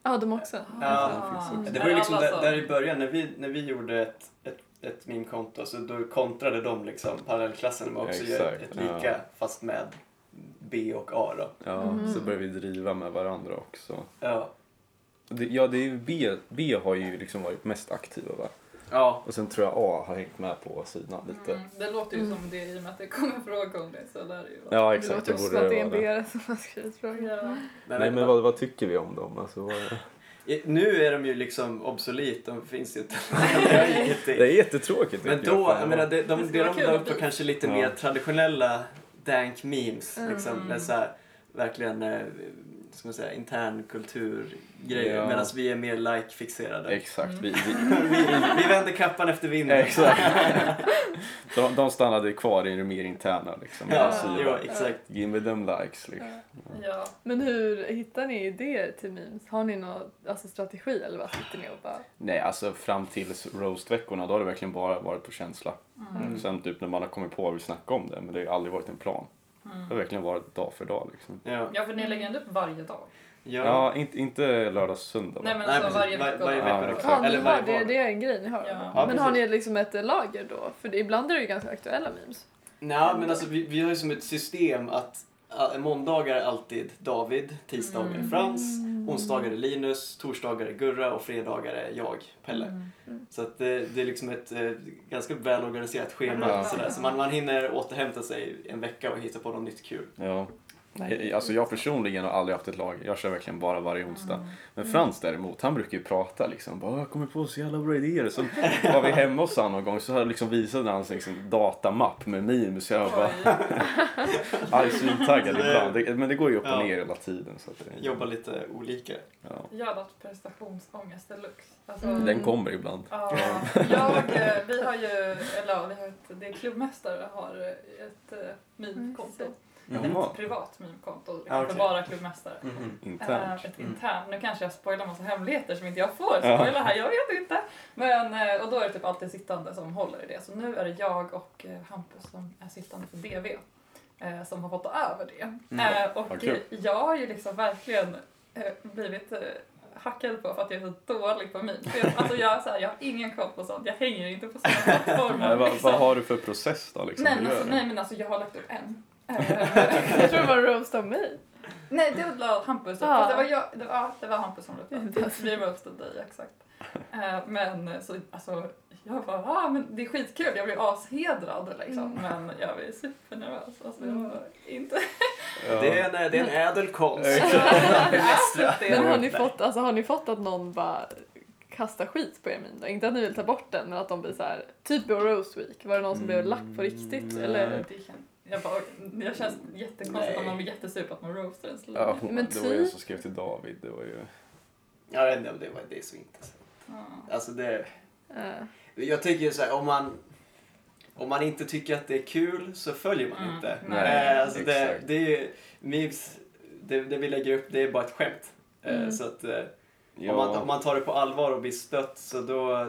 S3: Ja de också.
S2: Ja. Det var ju liksom där, där i början när vi, när vi gjorde ett, ett, ett meme-konto så då kontrade de liksom parallellklassen och också gör
S1: Exakt,
S2: ett lika
S1: ja.
S2: fast med B och A då.
S1: Ja,
S3: Mhm.
S1: så började vi driva med varandra också.
S2: Ja.
S1: Det, ja, det är ju B, B har ju liksom varit mest aktiva va?
S2: Ja.
S1: Och sen tror jag A har hängt med på sidan lite.
S4: Mm, det låter ju som det i och med att det kommer frågor om det. Så lär det ju vara.
S1: Ja,
S3: Det
S1: exakt.
S3: låter
S1: Det
S3: också
S1: borde
S3: som att det är
S1: det
S3: en
S1: vara.
S3: BR som har skrivit frågan.
S4: Ja.
S2: Men,
S1: Nej, men vad, vad tycker vi om dem? Alltså, vad är...
S2: Nu är de ju liksom obsolit, de finns ju inte. Det är ju ingenting.
S1: Det är jättetråkigt.
S2: men
S1: tycker jag.
S2: då,
S1: Fan,
S2: jag menar, det, de,
S4: Det
S2: det,
S4: skulle vara
S2: de
S4: kul
S2: la
S4: att
S2: upp var
S4: bli-
S2: kanske lite
S1: Ja.
S2: mer traditionella dank memes. Liksom,
S4: Mm.
S2: med så här, verkligen eh, ska man säga, intern kulturgrejer.
S1: Ja.
S2: Medan vi är mer like-fixerade.
S1: Exakt. Vi, vi,
S2: vi, vi vänder kappan efter vinden.
S1: exakt. De, de stannade kvar i det mer interna liksom.
S2: Ja,
S1: Deras
S2: jo,
S1: sida.
S2: exakt.
S1: Give me them likes liksom.
S4: Ja.
S3: Men hur hittar ni idéer till memes? Har ni någon alltså, strategi eller vad sitter ni och bara...
S1: Nej, alltså fram till roastveckorna då har det verkligen bara varit på känsla.
S2: Mm.
S1: Sen typ när man har kommit på att vi snackar om det, men det har ju aldrig varit en plan. Det har
S4: Mm.
S1: verkligen varit dag för dag liksom.
S2: Ja.
S4: Ja, för ni lägger ändå upp varje dag.
S1: Ja,
S2: ja.
S1: inte, inte lördag söndag va?
S4: Nej, men
S2: Nej,
S4: alltså
S2: precis.
S4: varje
S2: Var-
S4: vecka.
S2: varje
S1: vecka. Ja,
S3: Ja, ni
S2: Eller
S3: har,
S2: varje
S3: det,
S2: dag.
S3: det är en grej ni har.
S4: Ja.
S2: Ja,
S3: men har ni
S2: precis.
S3: liksom ett eh, lager då? För det, ibland är det ju ganska aktuella memes.
S2: Nej, men alltså vi, vi har ju som ett system att ah, måndagar är alltid David, tisdagar är
S4: Mm.
S2: Frans, onsdagar är Linus, torsdagar är Gurra och fredagar är jag, Pelle.
S4: Mm.
S2: Så att det, det är liksom ett eh, ganska välorganiserat schema.
S1: Ja.
S2: Sådär. Så man, man hinner återhämta sig en vecka och hitta på något nytt kul.
S1: Ja. Nej, alltså jag personligen har aldrig haft ett lag. Jag kör verkligen bara varje
S4: Mm.
S1: onsdag. Men Frans däremot, han brukar ju prata liksom. Bara, jag kommer på så jävla bra idéer. Så var vi hemma hos honom någon gång så hade jag liksom visade han sig liksom datamapp med memes. Jag var bara
S4: Oj.
S1: arg svintaggad
S2: Det-
S1: ibland. Det, men det går ju upp
S2: Ja.
S1: och ner hela tiden. Så att det,
S2: Jobba lite olika.
S1: Ja.
S4: Jag har haft prestationsångest deluxe. Alltså,
S3: Mm.
S1: Den kommer ibland.
S4: Ja, jag, eh, vi har ju, eller ja, vi har ett, det är klubbmästare har ett eh, meme-konto.
S1: Jaha.
S4: Ett privat meme-konto, det
S2: Ah,
S4: kan inte
S2: okej.
S4: vara klubbmästare.
S2: Mhm.
S1: Internt.
S4: Eh, ett
S2: Mm.
S4: internt. Nu kanske jag spoilar massa hemligheter som inte jag får
S1: Ja.
S4: spoila här, jag vet inte. Men, eh, och då är det typ alltid sittande som håller i det. Så nu är det jag och eh, Hampus som är sittande för DV. eh, Som har fått ta över det.
S2: Mm.
S4: Eh, Och
S1: Vad kul.
S4: eh, jag har ju liksom verkligen eh, blivit eh, hackad på för att jag är så dålig på min. Alltså jag, är så här, jag har ingen koll på sånt, jag hänger inte på sådana plattformar.
S1: Nej, vad,
S4: liksom.
S1: vad har du för process då? Liksom,
S4: nej,
S1: du
S4: men
S1: gör
S4: alltså,
S1: det?
S4: nej men alltså jag har lagt upp en. Eh,
S3: Jag tror det var roast av mig.
S4: Nej, det var Hampus.
S3: Ja.
S4: Fast Det, var jag, det, var, ja, det var Hampus som röstade.
S3: Precis.
S4: Vi röstade dig, exakt. Eh, Men eh, så, alltså, jag bara, ah, men det är skitkul, jag blir ashedrad liksom. Men jag blir supernervös. Alltså, jag
S3: Mm.
S4: var inte...
S1: Ja.
S2: Det, är en, eh, det är en ädel konst.
S4: Bemästra.
S3: Men har ni, fått, alltså, har ni fått att någon bara kastar skit på er min då? Inte att ni vill ta bort den men att de blir så här, typ på roast week, var det någon som blev lack på riktigt?
S1: Mm,
S3: Eller?
S1: nej.
S4: Det kän- Jag bara, jag känns jättekonstigt om
S2: Nej.
S4: man blir jättesur på att man roastar en så
S1: Ja,
S4: länge.
S1: hon,
S3: Men
S1: det var ju en
S3: typ-
S1: som skrev till David. Det var ju...
S2: Jag vet inte om det, var, det är så intressant.
S4: Ja.
S2: Alltså det,
S3: Eh,
S2: jag tycker så här, om man, om man inte tycker att det är kul så följer man
S4: Mm.
S2: inte.
S1: Nej,
S2: Eh, alltså det,
S1: exakt.
S2: det är ju, memes, det, det vi lägger upp det är bara ett skämt. Eh,
S3: Mm.
S2: Så att eh,
S1: Ja,
S2: om, man, om man tar det på allvar och blir stött så då eh,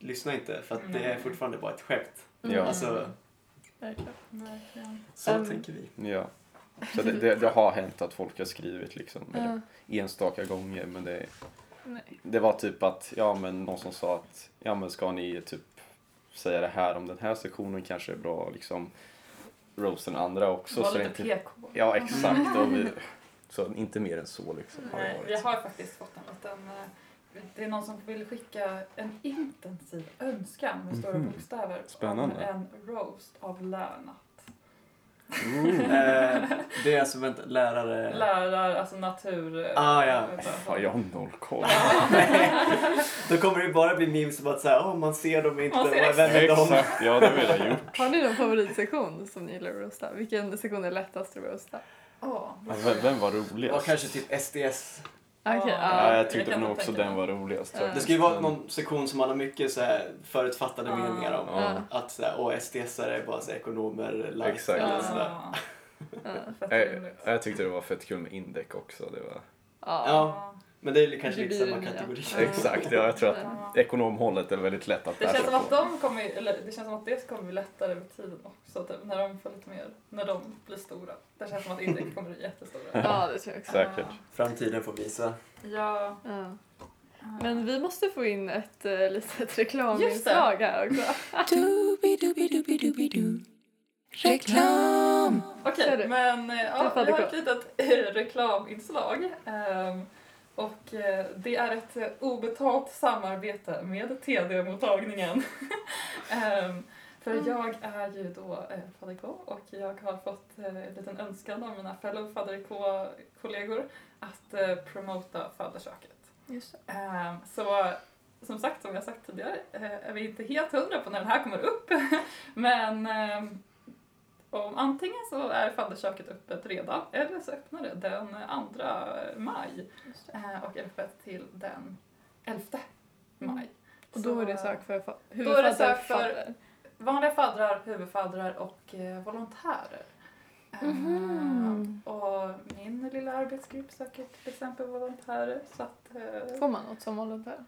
S2: lyssna inte för att det är
S4: Mm.
S2: fortfarande bara ett skämt.
S1: Ja.
S3: mm,
S2: Alltså,
S3: verkligen.
S4: Verkligen.
S2: så
S3: Mm.
S2: tänker vi.
S1: ja. Så det, det, det har hänt att folk har skrivit liksom. Eller,
S3: Ja,
S1: enstaka gånger men det,
S3: nej.
S1: det var typ att ja men någon som sa att ja men ska ni typ säga det här om den här sektionen kanske är bra liksom roast den andra också
S4: Var
S1: så det
S4: lite
S1: inte,
S4: PK.
S1: ja exakt och vi, så inte mer än så liksom har det
S4: Nej,
S1: varit.
S4: vi har faktiskt fått en liten... eh, Det är någon som vill skicka en intensiv önskan med stora
S1: Mhm.
S4: bokstäver om
S1: Spännande.
S4: en roast av Lärnat.
S1: Ooh.
S2: Eh, det är alltså, vänta, lärare...
S4: Lärar, alltså natur...
S2: Ah, ja.
S4: vänta,
S1: Fan, jag har noll koll.
S2: Då kommer det bara bli memes om att så här, "Åh, man ser dem inte,
S4: Man ser
S2: man vem är de?
S1: Exakt, ja det vill jag gjort.
S3: Har ni någon favoritsektion som ni gillar att roasta? Vilken sektion är lättast att roasta?
S4: Ja,
S1: Ja, Vem, vem var
S2: Ja,
S1: roligast?
S2: kanske typ SDS.
S3: Okej,
S4: Ja.
S1: Ja,
S3: ja.
S1: jag tyckte
S4: Jag kan
S1: nog
S4: inte
S1: också
S4: tänka
S1: den var
S4: mig.
S1: roligast.
S3: Ja.
S1: faktiskt.
S2: Det ska ju vara
S1: Men-
S2: någon sektion som man har mycket så här, förutfattade
S4: Ah.
S2: meningar om.
S1: Ja.
S2: Att så här, åh, STS-are är bara så här, ekonomer, likes
S1: Exakt.
S2: eller sådär.
S4: Ja,
S3: ja.
S4: fett
S1: Jag,
S4: roligt.
S1: jag tyckte det var fett kul med Indec också. Det var...
S3: ja.
S2: Ja, men det är kanske
S3: Det
S2: lite
S3: blir
S2: samma
S3: det nya.
S2: kategori.
S3: Ja.
S1: Exakt, ja, jag tror att
S4: Ja.
S1: ekonomhållet är väldigt lätt att
S4: Det känns,
S1: läsa
S4: som att
S1: på.
S4: de kommer, eller det känns som att det kommer bli lättare med tiden också, typ, när de får lite mer, när de blir stora. Det känns som att Indrek kommer bli jättestora.
S3: ja, det tror jag också.
S1: Säkert.
S2: Framtiden får visa.
S4: Ja.
S3: Ja. Men vi måste få in ett äh, litet
S4: Just det.
S3: reklaminslag här också.
S5: Doobie-doobie-doobie-doobie-doo. Reklam!
S4: Okej,
S3: Kör du.
S4: men eh, ja,
S3: Du får
S4: vi har
S3: gå.
S4: ett litet eh, reklaminslag. Ehm, och eh, det är ett eh, obetalt samarbete med TD-mottagningen. Ehm, för
S3: Mm.
S4: jag är ju då eh, Fader K och jag har fått eh, en liten önskan av mina fellow Fader K-kollegor att eh, promota faddersöket.
S3: Just det.
S4: Ehm, Så som sagt, som jag sagt tidigare, eh, är vi inte helt hundra på när den här kommer upp. Men ehm, om antingen så är fadderköket öppet redan, eller så öppnar det den 2 maj
S3: Just det.
S4: eh, och är öppet till den 11 maj.
S3: Mm. Och då är det
S4: Så-
S3: sök för fa-
S4: är det sök
S3: huvudfadder.
S4: för-
S3: fadder.
S4: vanliga faddrar, huvudfaddrar och eh, volontärer. Eh, Mm-hmm.
S3: Mhm.
S4: och min lilla arbetsgrupp söker till exempel volontärer. Så att, eh,
S3: Ah. Får man något som volontär?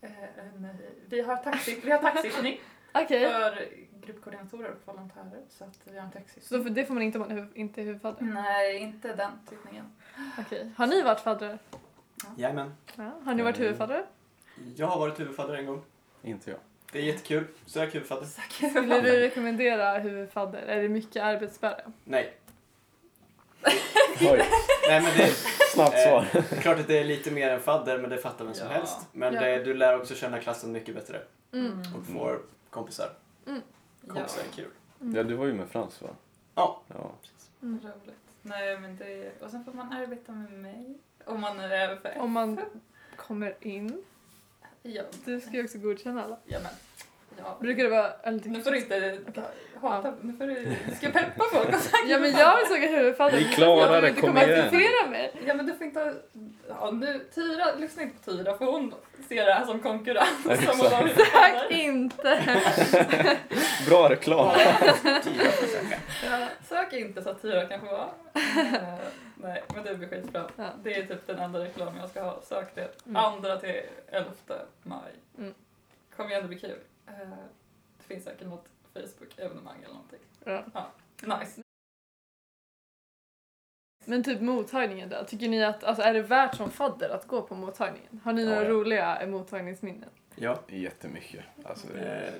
S4: eh, en, vi har taxi- vi har taxichning
S3: Okej,
S4: för gruppkoordinatorer och volontärer. Så att vi har en taxichning.
S3: så för det får man inte om man är huv- inte är huvudfadder?
S4: Nej, inte den tittningen.
S3: Okej. Har ni varit faddrar?
S2: Jajamän.
S3: Ja. Har ni varit
S1: Mm.
S3: huvudfaddrar?
S2: Jag har varit huvudfadder en gång.
S1: Inte jag.
S2: Det är jättekul. Sök huvudfadder.
S3: Skulle du rekommendera huvudfadder? Är det mycket arbetsbörda?
S2: Nej.
S1: Oj,
S2: Nej, men det,
S1: snabbt svar.
S2: Eh, klart att det är lite mer än fadder, men det fattar vem som
S1: Ja.
S2: helst. Men
S3: Ja.
S2: det, du lär också känna klassen mycket bättre
S3: Mm.
S2: och får kompisar.
S4: Ja,
S2: Kompisar är kul.
S1: Ja, du var ju med Frans va?
S2: Ja.
S1: Ja.
S4: roligt. Nej, men det är... Och sen får man arbeta med mig. Om man är över för
S3: Mm. Om man kommer in.
S4: Ja,
S3: Du ska ju också godkänna alla.
S4: ja men. Ja.
S3: Brukar det vara en liten...
S4: Nu får du inte hata, nu får du, du ska peppa folk och säga
S3: Ja men jag vill såga huvudfadder.
S1: Vi klarar
S3: Jag vill
S1: det,
S3: inte
S1: kom
S3: komma
S1: igen.
S3: att infiltrera mig.
S4: Ja men du får inte, ja nu, Tyra, lyssna inte på Tyra för hon ser det här som konkurrens.
S1: Ja,
S4: som hon
S1: exakt.
S4: har
S3: Tack inte.
S1: Bra reklam.
S2: Tio får söka.
S4: ja, Sök inte så att Tyra kanske var. Eh, Nej men det blir skitbra.
S3: Ja.
S4: Det är typ den enda reklamen jag ska ha, sök det.
S3: Mm.
S4: Andra till 11 maj.
S3: Mm.
S4: Kom igen det blir kul. Eh, Det finns säkert något Facebook-evenemang eller någonting.
S3: Ja.
S4: Nice.
S3: Men typ mottagningen då? Tycker ni att, alltså är det värt som fadder att gå på mottagningen? Har ni
S1: Ja,
S3: några
S1: ja.
S3: roliga mottagningsminnen?
S2: Ja.
S1: Jättemycket. Alltså,
S2: Eh,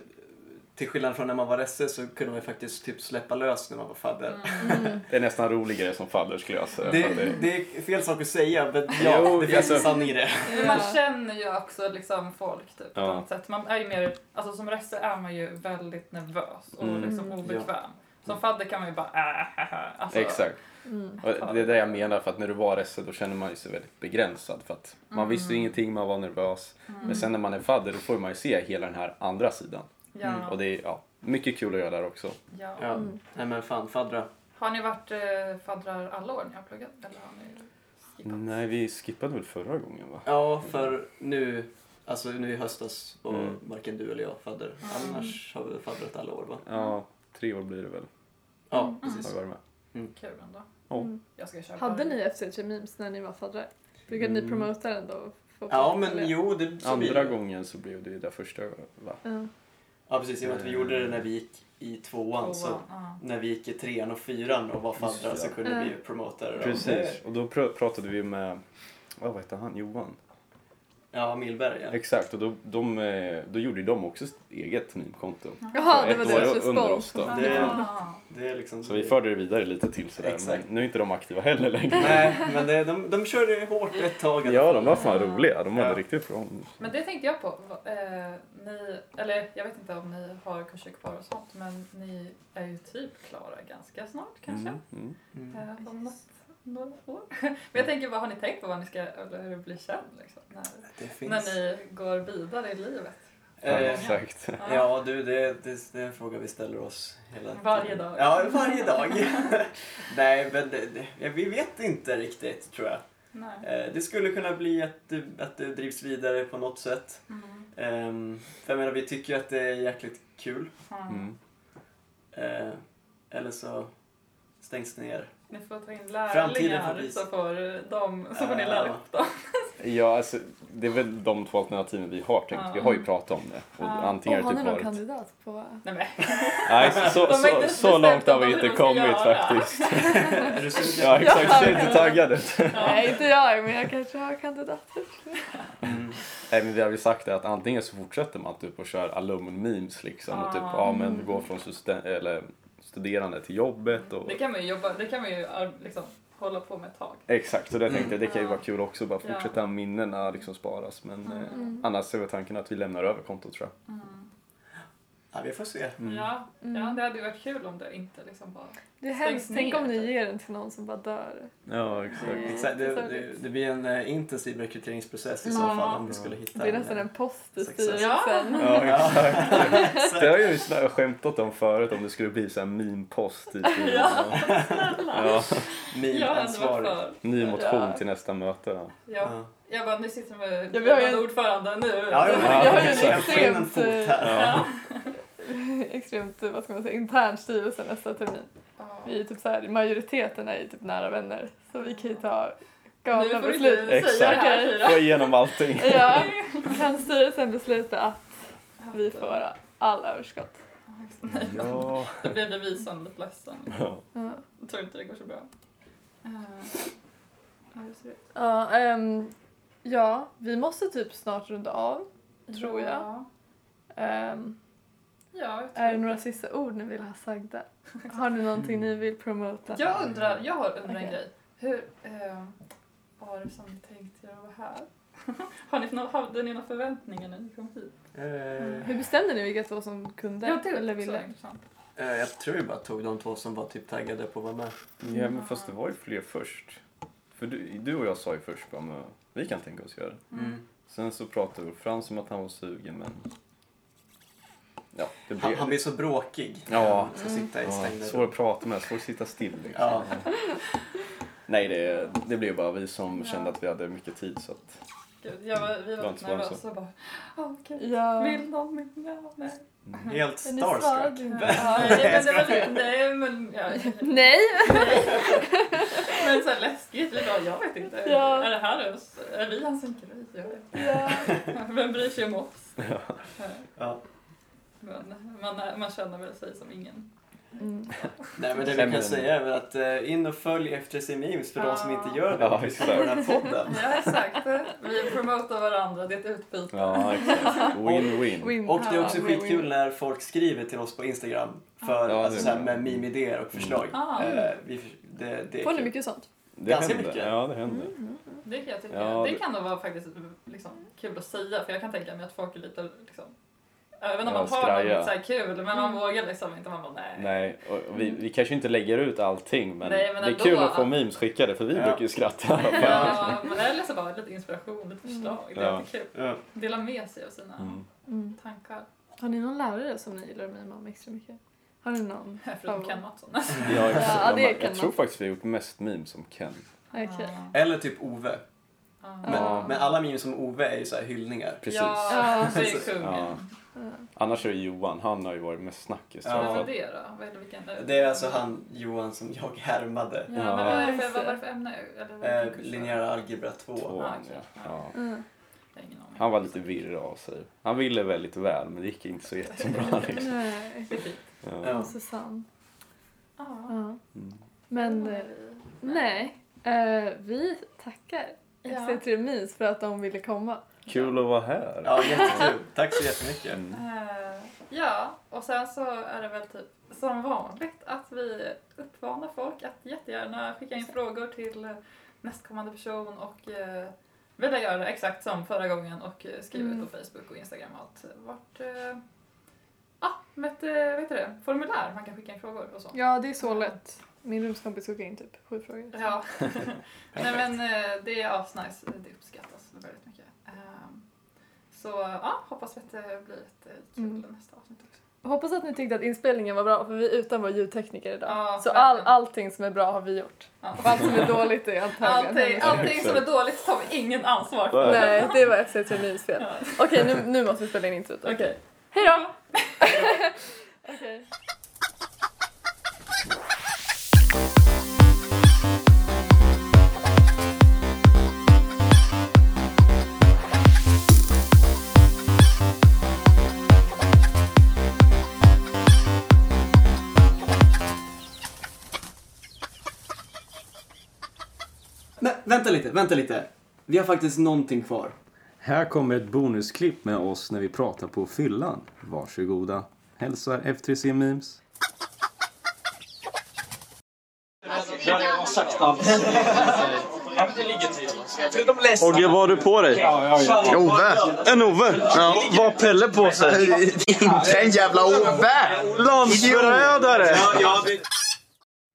S2: till skillnad från när man var resse så kunde man ju faktiskt typ släppa lös när man var fadder.
S1: Mm. det är nästan roligare som fadder skulle jag säga. för att
S2: Det,
S1: det-
S2: det är fel sak att säga, men ja,
S1: Jo,
S2: det finns en
S1: alltså-
S2: sanning i det.
S4: Men man känner ju också liksom folk typ, på
S1: Ja.
S4: något sätt. Man är ju mer, alltså, som röster är man ju väldigt nervös och
S1: Mm.
S4: liksom
S3: Mm.
S4: obekväm. Som fadder kan man ju bara äh, äh, äh, alltså,
S1: Exakt.
S3: Mm.
S1: Och det är det jag menar för att när du var resse då känner man ju sig väldigt begränsad för att man visste
S4: Mm.
S1: ju ingenting, man var nervös.
S3: Mm.
S1: Men sen när man är fadder då får man ju se hela den här andra sidan.
S4: Ja,
S2: Mm.
S1: Och det är ja, mycket kul att göra där också.
S4: ja.
S2: Ja.
S3: Mm.
S2: Nej men fan, faddra.
S4: Har ni varit eh, faddrar alla år ni har pluggat? Eller har ni skippat?
S1: Nej, vi skippade väl förra gången va?
S2: Ja, för nu, alltså nu i höstas var
S1: Mm.
S2: varken du eller jag fadder.
S3: Mm.
S2: Annars har vi faddrat alla år va?
S1: Ja, tre år blir det väl.
S2: Ja,
S1: Har
S2: precis.
S1: vi varit med.
S4: Kul ändå.
S1: Ja.
S3: Mm.
S4: Jag ska köpa
S3: Hade ni FCH-memes när ni var faddrar? Brukade ni
S2: Mm.
S3: promota den då? och få
S2: Ja,
S3: folk att
S2: men
S3: följa?
S2: jo, det så blir
S1: Andra
S2: det.
S1: gången så blev det ju där första va?
S3: Ja.
S2: Ja, precis. I och med att vi gjorde det när vi gick i tvåan. Så
S4: Ja.
S2: när vi gick i trean och fyran och var faddrar
S1: Just det.
S2: så kunde vi ju
S3: Mm.
S2: promota det. då.
S1: Precis, och då pr- pratade vi med, vad vad hette han, Johan?
S2: Ja, Milberg ja.
S1: Exakt, och då, de, eh, då gjorde ju de också sitt eget meme-konto.
S3: Jaha,
S1: Så
S3: det var
S1: ett
S3: deras
S1: år under
S3: respons.
S1: oss då.
S2: Det-
S4: Ja.
S2: Det är liksom...
S1: Så vi förde det vidare lite till sådär,
S2: Exakt.
S1: men nu är inte de aktiva heller längre.
S2: Nej, men det, de, de körde hårt ett tag. i alla
S1: Ja,
S2: fall.
S1: de var fan roliga. De hade
S2: Ja.
S1: riktigt bra...
S4: Men det tänkte jag på. Va- Eh, ni, eller jag vet inte om ni har kurser kvar och sånt men ni är ju typ klara ganska snart kanske.
S1: Mm, mm.
S2: Mm.
S4: Eh, om något, några år. Men jag tänker, vad har ni tänkt på vad ni ska, eller hur det blir sen liksom? När,
S2: Det finns.
S4: när ni går vidare i livet?
S1: Ja,
S2: Eh,
S1: exakt.
S2: Ja du, det, det, det är en fråga vi ställer oss hela
S4: Varje
S2: tiden.
S4: dag.
S2: Ja, varje dag. Nej, men det, det, ja, vi vet inte riktigt tror jag.
S4: Nej.
S2: Eh, det skulle kunna bli att du, att du drivs vidare på något sätt.
S4: Mm.
S2: Ehm, för jag menar, vi tycker ju att det är jäkligt kul.
S4: Ja.
S1: Mm.
S2: Eh, eller så stängs ner.
S4: Ni får ta in
S2: Framtiden får
S4: lärlingar
S2: visa.
S4: så får, de, så får ni
S2: Ja.
S4: lära upp dem.
S1: Ja, alltså, det är väl de två alternativen vi har tänkt. Vi har ju pratat om det. Och
S4: Ja.
S1: antingen
S3: Och
S1: har
S3: har
S1: det
S3: ni
S1: typ
S3: någon
S1: varit...
S3: kandidat på...
S4: Nej, men.
S1: Nej, så, så,
S4: De har inte
S1: så, så
S4: bestämt
S1: långt har
S4: om
S1: vi
S4: hur
S1: inte
S4: de ska
S1: kommit
S4: göra.
S1: faktiskt.
S2: Är du sugen?
S1: Ja, exakt. Jag är inte taggad ut.
S3: Nej, inte jag, men jag kanske har kandidater.
S2: Mm.
S1: Nej, men vi har ju sagt det att antingen så fortsätter man typ och kör alumn-memes liksom. Och typ,
S4: Ah.
S1: ja men gå från susten- eller studerande till jobbet och...
S4: Det kan man ju jobba, det kan man ju ar- liksom, hålla på med ett tag.
S1: Exakt, så det tänkte jag, det kan ju
S4: Ja.
S1: vara kul också. Bara
S4: Mm. Ja.
S1: fortsätta minnena liksom sparas. Men eh,
S3: Mm.
S1: annars är väl tanken att vi lämnar över kontot tror jag.
S2: Mm. Ja, vi får se.
S4: Ja,
S3: Mm.
S4: ja, det hade ju varit kul om det inte liksom bara...
S3: Det är hemskt.
S4: Stängs
S3: Tänk om ni
S4: ner.
S3: ger den till någon som bara dör.
S1: Ja, exakt.
S2: Exakt, det, det, det blir en eh, intensiv rekryteringsprocess i så fall om vi skulle hitta
S3: Det är nästan en post i styrelsen.
S1: Ja, exakt.
S2: Exakt.
S1: Det har jag ju snä- skämtat om förut om det skulle bli så här meme-post typ. i-
S4: Ja.
S1: ja.
S2: eh,
S4: Jag hade varit
S2: Meme-ansvarig.
S4: för.
S1: Ny motion
S4: Ja.
S1: till nästa möte. Ja.
S4: Ja. Jag bara, nu sitter vi med
S3: Ja, vi har ju
S4: blivande
S3: en-
S4: ordförande nu.
S2: Ja,
S4: Så-
S2: ja,
S1: Ja,
S2: ja,
S1: jag har
S2: jag
S1: ju
S2: kan
S3: exakt.
S2: få in en fot
S3: eh,
S2: här.
S4: Ja.
S3: Extremt, vad ska man säga, intern styrelse nästa termin. Vi är typ så här, majoriteten är ju typ nära vänner. Så vi kan ju ta
S4: Nu
S3: galna
S4: får du inte
S3: beslut.
S4: säga det här
S3: Exakt.
S4: Tyra.
S1: Få igenom allting.
S3: Ja, kan styrelsen besluta att vi får all överskott?
S1: Ja.
S4: Då blev revisorn lite ledsen.
S1: Ja.
S3: Ja.
S4: Jag tror inte det går så bra. Eh, ja, hur ser det ut?
S3: Ja, ehm, ja, vi måste typ snart runda av. Tror jag.
S4: Ja,
S3: Ehm,
S4: ja jag, tror
S3: är det några sista ord ni vill ha sagda? Har ni någonting ni vill promota?
S4: jag undrar, jag har undrar
S3: Okej.
S4: en grej. Hur eh, var det som ni tänkte göra här? har ni, nå- hade ni några förväntningar när ni kom hit?
S2: Eh,
S3: Hur bestämde ni vilka två som kunde
S4: Ja, det är
S3: eller
S4: också
S3: ville?
S4: intressant.
S2: eh, jag tror vi bara tog de två som var typ taggade på att vara med.
S1: Ja, men fast det var ju fler först. För du, du och jag sa ju först bara, men vi kan tänka oss göra det.
S2: Mm.
S1: Sen så pratade Ulf Frans om att han var sugen, men... Ja, det blev...
S2: Han, han blir så bråkig.
S1: Ja. Mm.
S2: Han ska sitta i
S1: ja,
S2: stängda
S1: svår
S2: rum.
S1: att prata med, svår att sitta still. Liksom.
S2: Ja.
S1: Nej, det, det blev bara vi som
S4: Ja.
S1: kände att vi hade mycket tid så att...
S4: Gud, jag var, vi var
S1: Bland
S4: lite
S1: svaren så.
S4: nervösa bara. Ah, okej.
S3: Ja.
S4: Vill de inte? Ja, Nej.
S2: Helt
S3: Är ni
S2: starstruck.
S3: svaga?
S4: Ja, nej, men det var lite, nej men, ja,
S3: Nej!
S4: men så här läskigt. Vi bara, jag vet inte.
S3: Ja.
S4: Är det här oss? Är vi hans synkroni? Jag vet
S3: Ja.
S4: inte. Vem bryr sig om oss?
S2: Ja.
S4: Men man, man känner väl sig som ingen.
S3: Mm.
S2: Nej, men det vi
S1: Känner
S2: kan
S1: den.
S2: säga är väl att eh, in och följ efter sig memes för de som
S4: Ja.
S2: inte gör det.
S1: Ja,
S2: Vi ska på den här podden.
S4: Ja, exakt. Vi promotar varandra, det är ett utbyte.
S1: Ja, exakt. Win-win.
S3: Win.
S2: Och det är också
S3: Ja, win-win.
S2: skitkul när folk skriver till oss på Instagram för
S1: Ja,
S2: alltså,
S1: det Mm.
S2: så här,
S1: är
S2: med
S1: bra.
S2: meme-idéer och förslag.
S4: Ah.
S2: Eh, vi, det, det är
S3: Får ni
S2: kul.
S3: mycket sånt? Mm,
S1: Det
S2: Ganska
S1: hände.
S2: mycket.
S1: Ja, det hände.
S4: Det kan jag tycka.
S1: Ja,
S4: det...
S1: det-
S4: kan nog vara faktiskt liksom, kul att säga för jag kan tänka mig att folk är lite liksom, Även om
S1: Ja,
S4: man har
S1: skraja.
S4: något så här kul men man
S3: Mm.
S4: vågar liksom inte. Man bara
S2: Mm.
S4: nej.
S1: Nej, och vi, vi kanske inte lägger ut allting men,
S4: Nej, men
S1: det är
S4: ändå.
S1: kul att få memes skickade för vi
S2: Ja.
S1: brukar ju skratta.
S4: Ja, men eller så bara lite inspiration, lite förslag. Det är
S1: Ja.
S4: alltid kul.
S2: Ja.
S4: Dela med sig av sina
S1: Mm.
S3: Mm.
S4: tankar.
S3: Har ni någon lärare som ni gillar att mima om extra mycket? Har ni någon?
S4: Förutom Ken Mattsson.
S1: Ja, exakt.
S3: Ja, det
S1: jag,
S3: kan
S1: jag tror
S3: man.
S1: faktiskt vi har gjort mest memes om Ken.
S3: Okej.
S2: Eller typ Ove.
S4: Ja.
S2: Men, men alla memes om Ove är ju så här hyllningar.
S1: Precis.
S4: Ja, det är kungen.
S1: Ja. Annars är det Johan, han har ju varit mest snackis.
S2: Ja.
S1: tror jag,
S4: Vad
S1: för
S4: var
S1: att-
S4: det då? Vad är det, vilken?
S2: Det är alltså han Johan som jag härmade.
S4: Ja, men vad var det för,
S3: Ja.
S4: vad var det för ämne? Eller vad
S2: Eh,
S4: var det för kurs?
S2: linjära algebra 2.
S1: Tvåan,
S4: okej.
S1: ja.
S4: Ja.
S1: Ja.
S3: Mm.
S4: Jag har Ingen aning.
S1: Han var lite virrig av sig. Han ville väldigt väl men det gick inte så jättebra. Liksom.
S3: Nej,
S4: Det är fint.
S1: Ja.
S2: Ja.
S3: Susanne.
S4: Ja.
S3: Ja.
S1: Mm.
S3: Men eh, nej, Eh, vi tackar
S4: Ja.
S3: extra ja. Memes för att de ville komma.
S1: Kul att vara här.
S2: Ja, jättekul. Tack så jättemycket.
S1: Mm.
S4: Eh, Ja, och sen så är det väl typ som vanligt att vi uppmanar folk att jättegärna skicka in frågor till eh, nästkommande person och eh, vill jag göra exakt som förra gången och eh, skriva
S3: Mm.
S4: ut på Facebook och Instagram och allt. Vart, eh, ja, med ett, eh, vet du det, formulär man kan skicka in frågor och så.
S3: Ja, det är så lätt. Min rumskompis skickade in typ sju frågor.
S4: Ja. Nej men eh, det är asnice, det uppskattas väldigt mycket. Ehm, Så ja, hoppas att det blir ett eh, kul
S3: Mm.
S4: nästa avsnitt också.
S3: Hoppas att ni tyckte att inspelningen var bra för vi är utan vår ljudtekniker idag.
S4: Ja,
S3: så all,
S4: verkligen.
S3: allting som är bra har vi gjort.
S4: Ja.
S3: Och allt som är dåligt är antagligen
S4: Allting,
S3: hennes fel.
S4: allting som är dåligt tar vi ingen ansvar för.
S3: Nej, det var FC Termins fel.
S4: Ja.
S3: Okej, nu, nu måste vi spela in introt. Okej.
S4: Okej.
S3: Hej då! Okej.
S2: Nej, vänta lite, vänta lite. Vi har faktiskt någonting kvar.
S1: Här kommer ett bonusklipp med oss när vi pratar på fyllan. Varsågoda. Hälsar F3C Memes.
S6: Ja, det var sakta.
S7: Ogge, vad har du på dig?
S8: Ove!
S7: En Ove! Vad har Pelle på sig?
S8: Inte en jävla Ove!
S7: Landsförrädare!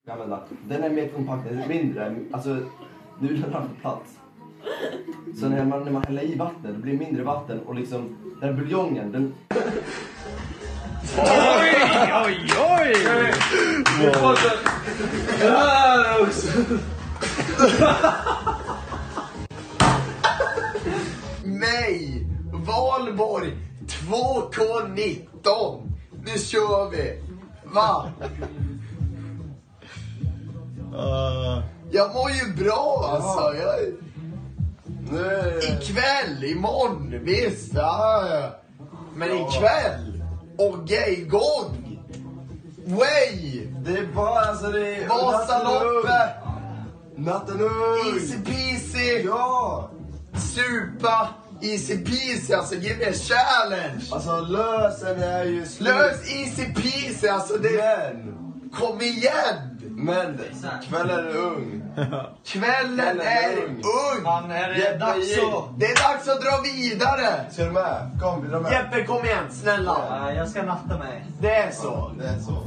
S9: använda. Den är mer kompakt, den är mindre. Alltså, nu är den här på plats. Så när man, när man häller i vatten, det blir mindre vatten och liksom den här buljongen, den...
S8: Nej! Valborg 2K19! Nu kör vi! Va? Jag mår ju bra alltså. Jag... Ikväll, imorgon, visst. Ja, ja, ja. Men ikväll, och gay igång! Way!
S9: Det är bara alltså det är...
S8: Vasaloppet!
S9: Natten ung!
S8: Easy peasy!
S9: Ja!
S8: Supa! Easy peasy, alltså give me a challenge!
S9: Alltså lösen är ju slut.
S8: Lös easy peasy, alltså det...
S9: igen!
S8: Kom igen! Men kvällen är ung. Kvällen är ung!
S6: Han är
S8: Jeppe,
S6: dags
S8: Jeppe.
S6: att-
S8: Det är dags att dra vidare!
S10: Ser du med? Kom, vi drar med.
S8: Jeppe kom igen, snälla!
S6: Ja, jag ska natta mig.
S8: Det är så. Det är så.